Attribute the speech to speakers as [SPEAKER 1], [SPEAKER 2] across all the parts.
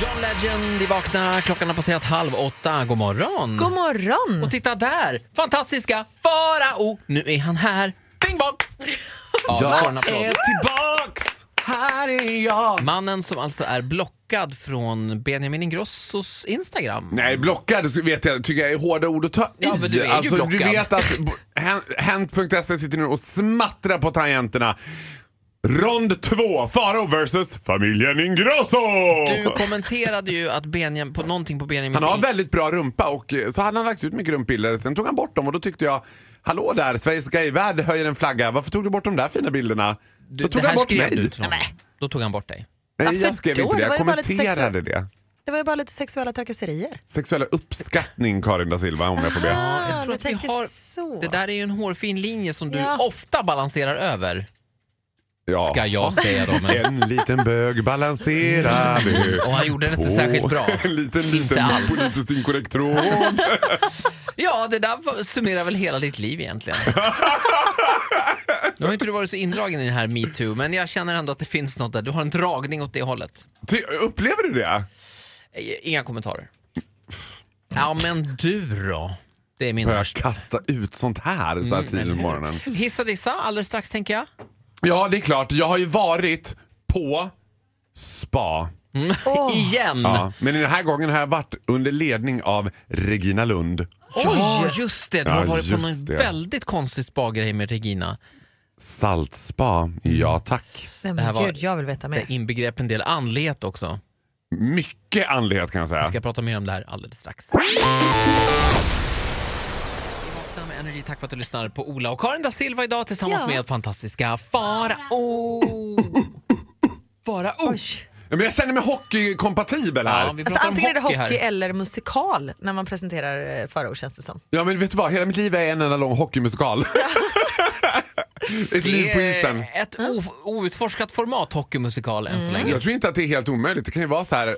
[SPEAKER 1] John Legend i Vakna. Klockan har passerat halv åtta. God morgon!
[SPEAKER 2] God morgon!
[SPEAKER 1] Och titta där! Fantastiska Farao! Nu är han här. Bing bong! Ja, vi får en applåd.
[SPEAKER 3] tillbaks! Här är jag!
[SPEAKER 1] Mannen som alltså är blockad från Benjamin Ingrossos Instagram.
[SPEAKER 3] Nej, blockad så vet jag, tycker jag är hårda ord att ta
[SPEAKER 1] Ja,
[SPEAKER 3] i.
[SPEAKER 1] men du är ju
[SPEAKER 3] alltså, du
[SPEAKER 1] blockad.
[SPEAKER 3] vet att bo- Hen- Hent.se E sitter nu och smattrar på tangenterna. Rond 2, Faro versus familjen Ingrosso!
[SPEAKER 1] Du kommenterade ju att Benjam, på någonting på Benjamins...
[SPEAKER 3] Han har en väldigt bra rumpa och eh, så hade han lagt ut mycket rumpbilder. Sen tog han bort dem och då tyckte jag, hallå där, Sveriges gayvärld höjer en flagga. Varför tog du bort de där fina bilderna?
[SPEAKER 1] Du-
[SPEAKER 3] då
[SPEAKER 1] det
[SPEAKER 3] tog
[SPEAKER 1] här
[SPEAKER 3] han bort
[SPEAKER 1] skrev du
[SPEAKER 3] mig.
[SPEAKER 1] till honom. Då tog han bort dig.
[SPEAKER 3] Nej,
[SPEAKER 2] Varför
[SPEAKER 3] jag skrev
[SPEAKER 2] då?
[SPEAKER 3] inte det.
[SPEAKER 2] Det
[SPEAKER 3] Jag
[SPEAKER 2] var ju bara lite
[SPEAKER 3] kommenterade
[SPEAKER 2] sexuellt.
[SPEAKER 3] det.
[SPEAKER 2] Det var ju bara lite sexuella trakasserier.
[SPEAKER 3] Sexuella uppskattning, Karin da Silva, om jag får be.
[SPEAKER 2] Ah,
[SPEAKER 1] jag tror
[SPEAKER 2] du
[SPEAKER 1] att vi
[SPEAKER 2] tänker
[SPEAKER 1] har-
[SPEAKER 2] så.
[SPEAKER 1] Det där är ju en hårfin linje som du
[SPEAKER 2] Ja.
[SPEAKER 1] ofta balanserar över,
[SPEAKER 3] Ja.
[SPEAKER 1] ska jag säga då. Men...
[SPEAKER 3] En liten bög balanserar du.
[SPEAKER 1] Och han gjorde Mm. det inte särskilt bra.
[SPEAKER 3] En liten,
[SPEAKER 1] Inte
[SPEAKER 3] liten
[SPEAKER 1] alls.
[SPEAKER 3] politiskt inkorrekt tråd.
[SPEAKER 1] Ja, det där var- summerar väl hela ditt liv egentligen. Nu har ju inte du varit så indragen i den här metoo, men jag känner ändå att det finns något där. Du har en dragning åt det hållet.
[SPEAKER 3] Ty- Upplever du det?
[SPEAKER 1] Eh, Inga kommentarer. Ja, men du då? Det är min
[SPEAKER 3] Börjar
[SPEAKER 1] värsta.
[SPEAKER 3] kasta ut sånt här
[SPEAKER 1] Mm,
[SPEAKER 3] så här tidigt på morgonen.
[SPEAKER 1] Hissa dissa alldeles strax tänker jag.
[SPEAKER 3] Ja, det är klart. Jag har ju varit på spa.
[SPEAKER 1] Igen!
[SPEAKER 3] Ja. Men den här gången har jag varit under ledning av Regina Lund.
[SPEAKER 1] Ja, just det. Du har
[SPEAKER 3] Ja,
[SPEAKER 1] varit på
[SPEAKER 3] just
[SPEAKER 1] någon
[SPEAKER 3] det.
[SPEAKER 1] väldigt konstig spa-grej med Regina.
[SPEAKER 3] Saltspa. Ja, tack.
[SPEAKER 2] Nej,
[SPEAKER 1] Det här
[SPEAKER 2] men
[SPEAKER 1] var-
[SPEAKER 2] gud, jag vill veta
[SPEAKER 1] Där
[SPEAKER 2] mer.
[SPEAKER 1] inbegrep en del andlighet också.
[SPEAKER 3] Mycket andlighet kan jag säga.
[SPEAKER 1] Vi ska prata mer om det här alldeles strax. Vi vaknar med Energy. Tack för att du lyssnar på Ola och Karin da Silva idag tillsammans
[SPEAKER 2] Ja.
[SPEAKER 1] med fantastiska Farao. Farao.
[SPEAKER 3] Men jag känner mig hockeykompatibel här.
[SPEAKER 1] Ja, vi pratar
[SPEAKER 2] Alltså, antingen är det
[SPEAKER 1] om hockey,
[SPEAKER 2] hockey
[SPEAKER 1] här.
[SPEAKER 2] eller musikal när man presenterar eh, Farao känns det som.
[SPEAKER 3] Ja men vet du vad, hela mitt liv är en enda lång hockeymusikal. Ett liv på
[SPEAKER 1] Det
[SPEAKER 3] isen.
[SPEAKER 1] är ett o- outforskat format hockeymusikal än
[SPEAKER 2] Mm.
[SPEAKER 1] så länge.
[SPEAKER 3] Jag tror inte att det är helt omöjligt. Det kan ju vara så här,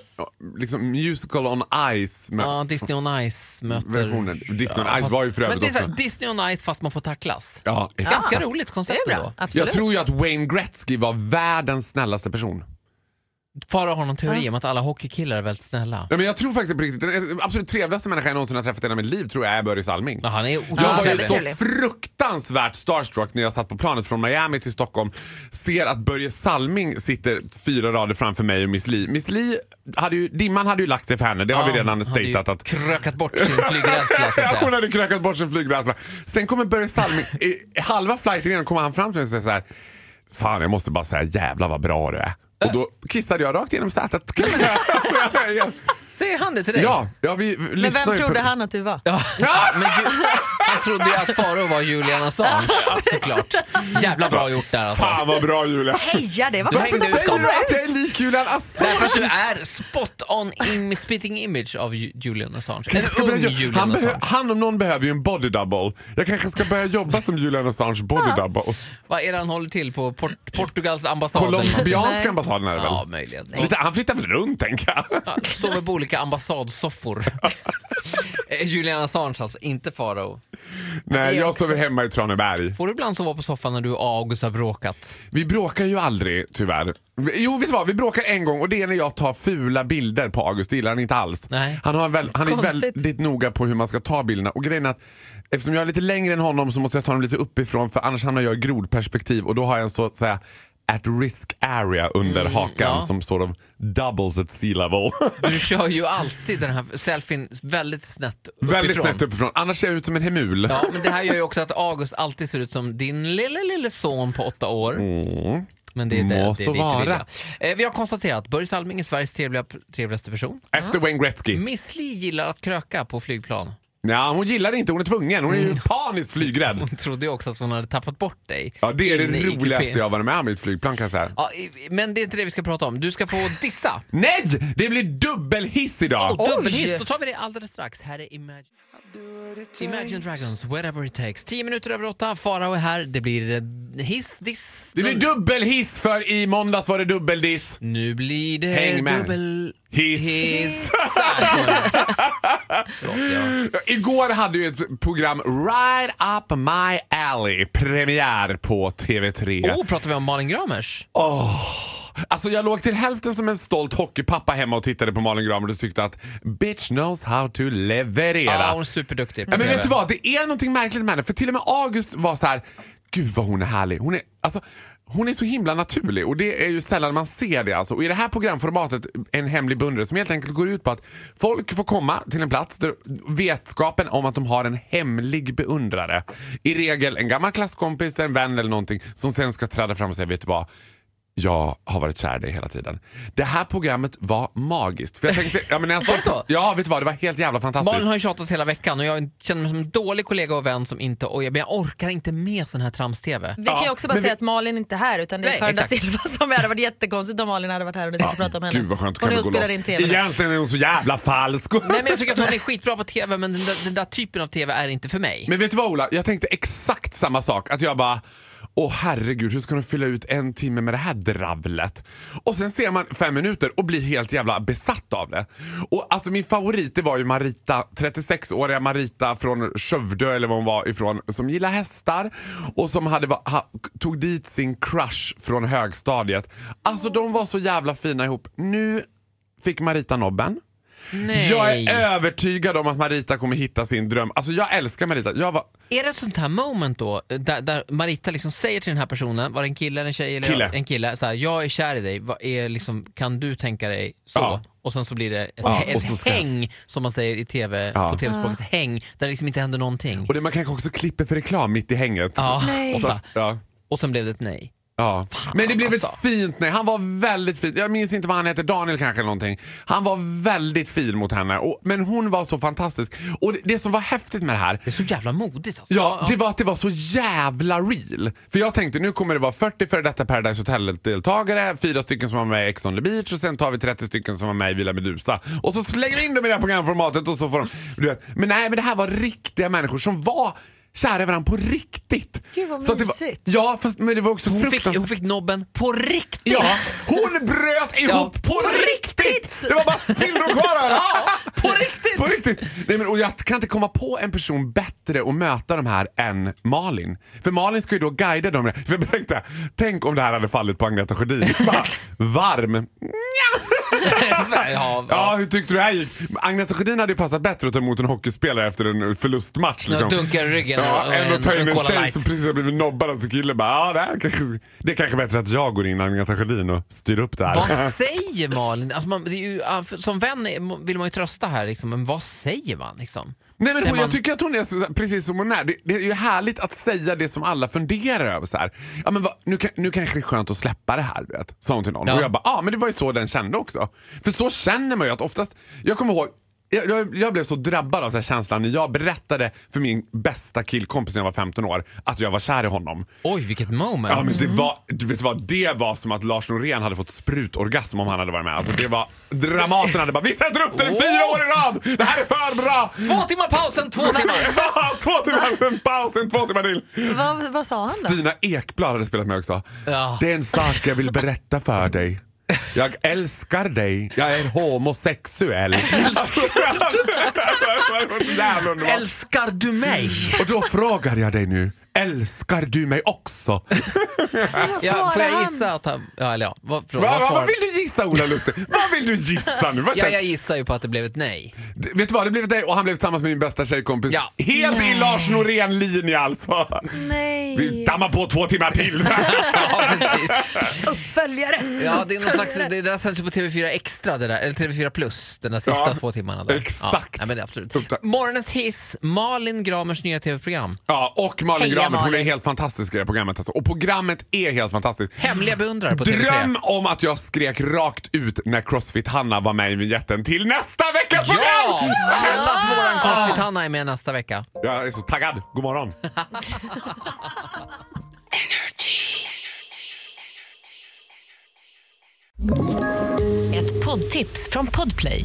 [SPEAKER 3] liksom musical on ice med
[SPEAKER 1] Ja, Disney on Ice möter...
[SPEAKER 3] versionen. Disney
[SPEAKER 1] Ja,
[SPEAKER 3] on ice
[SPEAKER 1] fast-
[SPEAKER 3] var ju för
[SPEAKER 1] Men
[SPEAKER 3] övrigt
[SPEAKER 1] det är så här,
[SPEAKER 3] också.
[SPEAKER 1] Disney on Ice fast man får tacklas.
[SPEAKER 3] Ja, exakt.
[SPEAKER 1] Ganska roligt
[SPEAKER 2] Ah. Det
[SPEAKER 1] koncept
[SPEAKER 2] är bra,
[SPEAKER 1] ändå.
[SPEAKER 2] absolut.
[SPEAKER 3] Jag tror ju att Wayne Gretzky var världens snällaste person.
[SPEAKER 1] Farao har någon teori om att alla hockeykillar är väldigt snälla.
[SPEAKER 3] Ja, men jag tror faktiskt på riktigt, den absolut trevligaste människan jag någonsin har träffat i hela mitt liv tror jag är Börje Salming.
[SPEAKER 1] Men han är
[SPEAKER 3] Jag var ju
[SPEAKER 1] otroligt
[SPEAKER 2] trevlig.
[SPEAKER 3] så fruktansvärt starstruck när jag satt på planet från Miami till Stockholm. Ser att Börje Salming sitter fyra rader framför mig och Miss Li. Miss Li, hade ju, dimman hade ju lagt sig för henne. Det har vi redan
[SPEAKER 1] hade ju
[SPEAKER 3] statat. Att,
[SPEAKER 1] krökat bort sin flygrädsla så att
[SPEAKER 3] hon
[SPEAKER 1] säga.
[SPEAKER 3] hade krökat bort sin flygrädsla. Sen kommer Börje Salming, i halva flighten innan kommer han fram till mig och säger så här. Fan jag måste bara säga jävla vad bra du är. Och då kissade jag rakt genom sätet.
[SPEAKER 1] Säger han det till dig?
[SPEAKER 3] ja, ja, vi vi
[SPEAKER 2] Men
[SPEAKER 3] lyssnar
[SPEAKER 2] vem
[SPEAKER 3] ju på-
[SPEAKER 2] trodde han att du var?
[SPEAKER 1] Ja, Men ju, han trodde ju att Faro var Julian Assange, såklart. Jävla bra gjort där alltså.
[SPEAKER 3] Fan vad bra Julia.
[SPEAKER 2] Heja, det var
[SPEAKER 1] Du
[SPEAKER 2] bra
[SPEAKER 1] hängde
[SPEAKER 2] att de
[SPEAKER 1] ut
[SPEAKER 3] Säger
[SPEAKER 1] dem.
[SPEAKER 2] kom
[SPEAKER 3] du att jag
[SPEAKER 2] ut!
[SPEAKER 3] är lik Julian Assange?
[SPEAKER 1] Därför att du är spot on im, spitting image av Ju- Julian Assange. En
[SPEAKER 3] Jag ska
[SPEAKER 1] ung
[SPEAKER 3] börja,
[SPEAKER 1] Julian
[SPEAKER 3] han, behö-
[SPEAKER 1] Assange.
[SPEAKER 3] han om någon behöver ju en body double. Jag kanske ska börja jobba som Julian Assange body double.
[SPEAKER 1] Vad är det han håller till på? Port- Portugals ambassad? eller någonting?
[SPEAKER 3] Colombianska
[SPEAKER 2] Nej.
[SPEAKER 3] ambassaden är det
[SPEAKER 1] Ja,
[SPEAKER 3] väl?
[SPEAKER 1] möjligen.
[SPEAKER 3] Lite, han flyttar väl runt tänker jag.
[SPEAKER 1] Ja, Står väl på olika ambassadsoffor. Eh, Julian Assange alltså, inte Faro.
[SPEAKER 3] Nej, jag
[SPEAKER 2] också.
[SPEAKER 3] sover hemma i Traneberg.
[SPEAKER 1] Får du ibland sova på soffan när du och August har bråkat?
[SPEAKER 3] Vi bråkar ju aldrig tyvärr. Jo, vet du vad? Vi bråkar en gång och det är när jag tar fula bilder på August. Det gillar han inte alls.
[SPEAKER 1] Nej.
[SPEAKER 3] Han, har en väl, han är
[SPEAKER 2] Konstigt.
[SPEAKER 3] väldigt noga på hur man ska ta bilderna. Och grejen är att eftersom jag är lite längre än honom så måste jag ta dem lite uppifrån för annars hamnar jag i grodperspektiv och då har jag en så att säga at risk area under hakan
[SPEAKER 1] Mm, ja.
[SPEAKER 3] som sort of doubles at sea level.
[SPEAKER 1] Du kör ju alltid den här selfien väldigt snett uppifrån.
[SPEAKER 3] väldigt snett uppifrån. Annars ser jag ut som en hemul.
[SPEAKER 1] Ja, men det här gör ju också att August alltid ser ut som din lille, lille son på åtta år. Men det är det,
[SPEAKER 3] Mm. Må
[SPEAKER 1] det är
[SPEAKER 3] så
[SPEAKER 1] dit vi
[SPEAKER 3] vara.
[SPEAKER 1] vill. Eh, Vi har konstaterat Börje Salming är Sveriges trevliga, trevligaste person.
[SPEAKER 3] Efter Wayne Gretzky.
[SPEAKER 1] Miss Li gillar att kröka på flygplan.
[SPEAKER 3] Ja, hon gillar det inte. Hon är tvungen. Hon är
[SPEAKER 1] Mm.
[SPEAKER 3] ju paniskt flygrädd.
[SPEAKER 1] Hon trodde ju också att hon hade tappat bort dig.
[SPEAKER 3] Ja, det är
[SPEAKER 1] inne
[SPEAKER 3] det
[SPEAKER 1] i
[SPEAKER 3] roligaste
[SPEAKER 1] kupén.
[SPEAKER 3] jag har varit med om i ett flygplan kan jag säga.
[SPEAKER 1] Ja, i- men det är inte det vi ska prata om. Du ska få dissa.
[SPEAKER 3] Nej! Det blir dubbelhiss idag!
[SPEAKER 1] Och dubbelhiss, då tar vi det alldeles strax. Här är Imagine, Imagine Dragons, Whatever It Takes. Tio minuter över åtta, Farao är här. Det blir eh, hiss, diss.
[SPEAKER 3] Det blir dubbelhiss för i måndags var det dubbeldiss.
[SPEAKER 1] Nu blir det
[SPEAKER 3] Häng med.
[SPEAKER 1] dubbel...
[SPEAKER 3] Hiss.
[SPEAKER 1] Hissar. Förlåt, jag-
[SPEAKER 3] Igår hade ju ett program Right Up My Alley premiär på TV3.
[SPEAKER 1] Oh, pratar vi om Malin Gramers?
[SPEAKER 3] Alltså jag låg till hälften som en stolt hockeypappa hemma och tittade på Malin Gramer och tyckte att bitch knows how to leverera.
[SPEAKER 1] Ja, hon är superduktig. på
[SPEAKER 3] Ja, men
[SPEAKER 1] TV.
[SPEAKER 3] vet du vad, det är någonting märkligt med henne. För till och med August var så här, gud vad hon är härlig. Hon är, alltså, hon är så himla naturlig och det är ju sällan man ser det. Alltså. Och I det här programformatet, En hemlig beundrare, som helt enkelt går ut på att folk får komma till en plats där vetskapen om att de har en hemlig beundrare, i regel en gammal klasskompis, en vän eller någonting, som sen ska träda fram och säga, vet du vad? Jag har varit kär i dig hela tiden. Det här programmet var magiskt. För jag tänkte, ja, men när jag
[SPEAKER 1] Var det så?
[SPEAKER 3] Ja, vet du vad? Det var helt jävla fantastiskt.
[SPEAKER 1] Malin har ju tjatat hela veckan och jag känner mig som en dålig kollega och vän som inte... Oj, men jag orkar inte med sån här trams-TV.
[SPEAKER 2] Vi kan ju
[SPEAKER 3] Ja,
[SPEAKER 2] också bara
[SPEAKER 3] men
[SPEAKER 2] säga
[SPEAKER 3] vi-
[SPEAKER 2] att Malin inte är här utan det är
[SPEAKER 1] Nej,
[SPEAKER 2] Karin da
[SPEAKER 1] exakt.
[SPEAKER 2] Silva som är här. Det hade varit jättekonstigt om Malin hade varit här och ni skulle prata om henne.
[SPEAKER 3] Gud vad skönt, då
[SPEAKER 2] hon
[SPEAKER 3] kan
[SPEAKER 2] är
[SPEAKER 3] vi
[SPEAKER 2] och
[SPEAKER 3] gå
[SPEAKER 2] spelar
[SPEAKER 3] loss.
[SPEAKER 2] in TV.
[SPEAKER 3] Egentligen är hon så jävla falsk.
[SPEAKER 1] Nej, men jag tycker att hon är skitbra på TV, men den där, den där typen av TV är inte för mig.
[SPEAKER 3] Men vet du vad Ola, jag tänkte exakt samma sak. Att jag bara, åh herregud hur ska de fylla ut en timme med det här dravlet? Och sen ser man fem minuter och blir helt jävla besatt av det. Och alltså min favorit det var ju Marita, 36-åriga Marita från Skövde eller var hon var ifrån, som gillar hästar och som hade, va- ha, tog dit sin crush från högstadiet. Alltså de var så jävla fina ihop. Nu fick Marita nobben.
[SPEAKER 1] Nej.
[SPEAKER 3] Jag är övertygad om att Marita kommer hitta sin dröm. Alltså jag älskar Marita. Jag var
[SPEAKER 1] Är det ett sånt här moment då, eh, där, där Marita liksom säger till den här personen, var det en kille eller en tjej? Eller
[SPEAKER 3] Kille.
[SPEAKER 1] En kille. Så här, jag är kär i dig, vad är liksom, kan du tänka dig så?
[SPEAKER 3] Ja.
[SPEAKER 1] Och sen så blir det ett,
[SPEAKER 3] Ja,
[SPEAKER 1] ett
[SPEAKER 3] och så ska-
[SPEAKER 1] häng, som man säger i TV,
[SPEAKER 3] Ja.
[SPEAKER 1] på tv-språket, häng, där det liksom inte händer någonting.
[SPEAKER 3] och det man kanske också klipper för reklam mitt i hänget.
[SPEAKER 1] Ja.
[SPEAKER 2] Nej.
[SPEAKER 1] Och, så,
[SPEAKER 3] Ja.
[SPEAKER 1] och sen blev det ett nej.
[SPEAKER 3] Ja. Men det blev ett
[SPEAKER 1] alltså.
[SPEAKER 3] fint nej. Han var väldigt fin. Jag minns inte vad han heter, Daniel kanske eller någonting. Han var väldigt fin mot henne. Och, men hon var så fantastisk. Och det, det som var häftigt med det här,
[SPEAKER 1] Det är så jävla modigt alltså.
[SPEAKER 3] Ja, det var att det var så jävla real. För jag tänkte nu kommer det vara 40 före detta Paradise Hotel-deltagare, fyra stycken som var med i Ex on the beach och sen tar vi 30 stycken som var med i Villa Medusa. Och så slänger vi in dem i det här programformatet och så får de... Du vet. Men nej, men det här var riktiga människor som var kära i varandra på riktigt.
[SPEAKER 2] Gud, vad
[SPEAKER 3] Så att det var-
[SPEAKER 2] mysigt.
[SPEAKER 3] Ja, fast, men det var också
[SPEAKER 1] hon, fick,
[SPEAKER 3] fruktansvärt.
[SPEAKER 1] hon fick nobben på riktigt!
[SPEAKER 3] Ja, hon bröt ihop
[SPEAKER 1] Ja.
[SPEAKER 3] på riktigt! Det var bara spillror kvar här.
[SPEAKER 1] Ja, på riktigt!
[SPEAKER 3] På riktigt! Nej, men, och jag kan inte komma på en person bättre att möta de här än Malin. För Malin ska ju då guida dem. För jag tänkte, tänk om det här hade fallit på Agneta Sjödin. Bara, Varm. Nja.
[SPEAKER 1] ja,
[SPEAKER 3] Ja, hur tyckte du det här gick? Agneta Sjödin hade ju passat bättre att ta emot en hockeyspelare efter en förlustmatch.
[SPEAKER 1] Ja,
[SPEAKER 3] Liksom.
[SPEAKER 1] dunkar i ryggen och-
[SPEAKER 3] Ja,
[SPEAKER 1] och
[SPEAKER 3] än
[SPEAKER 1] en-
[SPEAKER 3] att ta
[SPEAKER 1] en
[SPEAKER 3] in en
[SPEAKER 1] Cola
[SPEAKER 3] tjej
[SPEAKER 1] Light.
[SPEAKER 3] som precis har blivit nobbad av sin kille. Bara, ja, det, här kanske, det är kanske bättre att jag går in, Agneta Sjödin, och styr upp det här.
[SPEAKER 1] Vad säger Malin? Alltså man, det är ju, ah, för- som vän är- vill man ju trösta här, liksom, men vad säger man? Liksom?
[SPEAKER 3] Nej men
[SPEAKER 1] Säger
[SPEAKER 3] hon,
[SPEAKER 1] man-
[SPEAKER 3] jag tycker att hon är så, precis som hon är. Det, det är ju härligt att säga det som alla funderar över. Så här. Ja, men vad- nu, kan, nu kanske det är skönt att släppa det här, du vet, sa hon till någon.
[SPEAKER 1] Ja.
[SPEAKER 3] Och jag bara, ja ah, men det var ju så den kände också. För så känner man ju att oftast, jag kommer ihåg jag, jag, jag blev så drabbad av den här känslan när jag berättade för min bästa killkompis när jag var 15 år att jag var kär i honom.
[SPEAKER 1] Oj, vilket moment!
[SPEAKER 3] Ja, men det, var, du vet vad, det var som att Lars Norén hade fått sprutorgasm om han hade varit med. Alltså, det var, Dramaten hade bara “Vi sätter upp den i fyra år i rad! Det här är för bra!”
[SPEAKER 1] Två timmar pausen, två timmar!
[SPEAKER 3] Ja, två timmar, sen paus, sen två timmar till.
[SPEAKER 2] Vad, vad sa han
[SPEAKER 1] Alltså.
[SPEAKER 2] då?
[SPEAKER 3] Stina Ekblad hade spelat med också.
[SPEAKER 1] Ja.
[SPEAKER 3] Det är en sak jag vill berätta för dig. Jag älskar dig. Jag är homosexuell. Det var så jävla underbart.
[SPEAKER 1] Älskar du mig?
[SPEAKER 3] Och då frågar jag dig nu, älskar du mig också?
[SPEAKER 2] Vad
[SPEAKER 1] Ja,
[SPEAKER 2] svarade
[SPEAKER 1] får jag
[SPEAKER 2] han?
[SPEAKER 1] gissa att han... Ja, eller ja. Vad, förlåt,
[SPEAKER 3] Va,
[SPEAKER 1] vad
[SPEAKER 3] va,
[SPEAKER 1] svarar-
[SPEAKER 3] vad vill du gissa Ola Lustig? Vad vill du gissa nu? Vad
[SPEAKER 1] ja,
[SPEAKER 3] känner-
[SPEAKER 1] jag gissar ju på att det blev ett nej.
[SPEAKER 3] D- Vet du vad, det blev dig och han blev tillsammans med min bästa tjejkompis.
[SPEAKER 1] Ja.
[SPEAKER 3] Helt i Lars Norén-linje alltså. Vi
[SPEAKER 2] Nej,
[SPEAKER 3] dammar på två timmar till.
[SPEAKER 1] Ja, precis.
[SPEAKER 2] uppföljare!
[SPEAKER 1] Ja, det, är någon slags, det det där sänds ju på TV4 Extra, det där, eller TV4 Plus, den där sista
[SPEAKER 3] Ja,
[SPEAKER 1] två timmarna. Där. Ja,
[SPEAKER 3] exakt.
[SPEAKER 1] nej, men det är absolut.
[SPEAKER 3] Upptack.
[SPEAKER 1] Morgonens hiss, Malin Gramers nya TV-program.
[SPEAKER 3] Ja, och Malin
[SPEAKER 2] Heja,
[SPEAKER 3] Gramer. Hon är
[SPEAKER 2] Malin.
[SPEAKER 3] helt fantastisk i det här programmet. Alltså. Och programmet är helt fantastiskt.
[SPEAKER 1] Hemliga beundrare på TV3.
[SPEAKER 3] Dröm om att jag skrek rakt ut när Crossfit-Hanna var med i vignetten till nästa veckas program!
[SPEAKER 1] Ja! Allas våran Crossfit-Hanna är med nästa vecka.
[SPEAKER 3] Jag är så taggad. God morgon.
[SPEAKER 4] Ett poddtips från Podplay.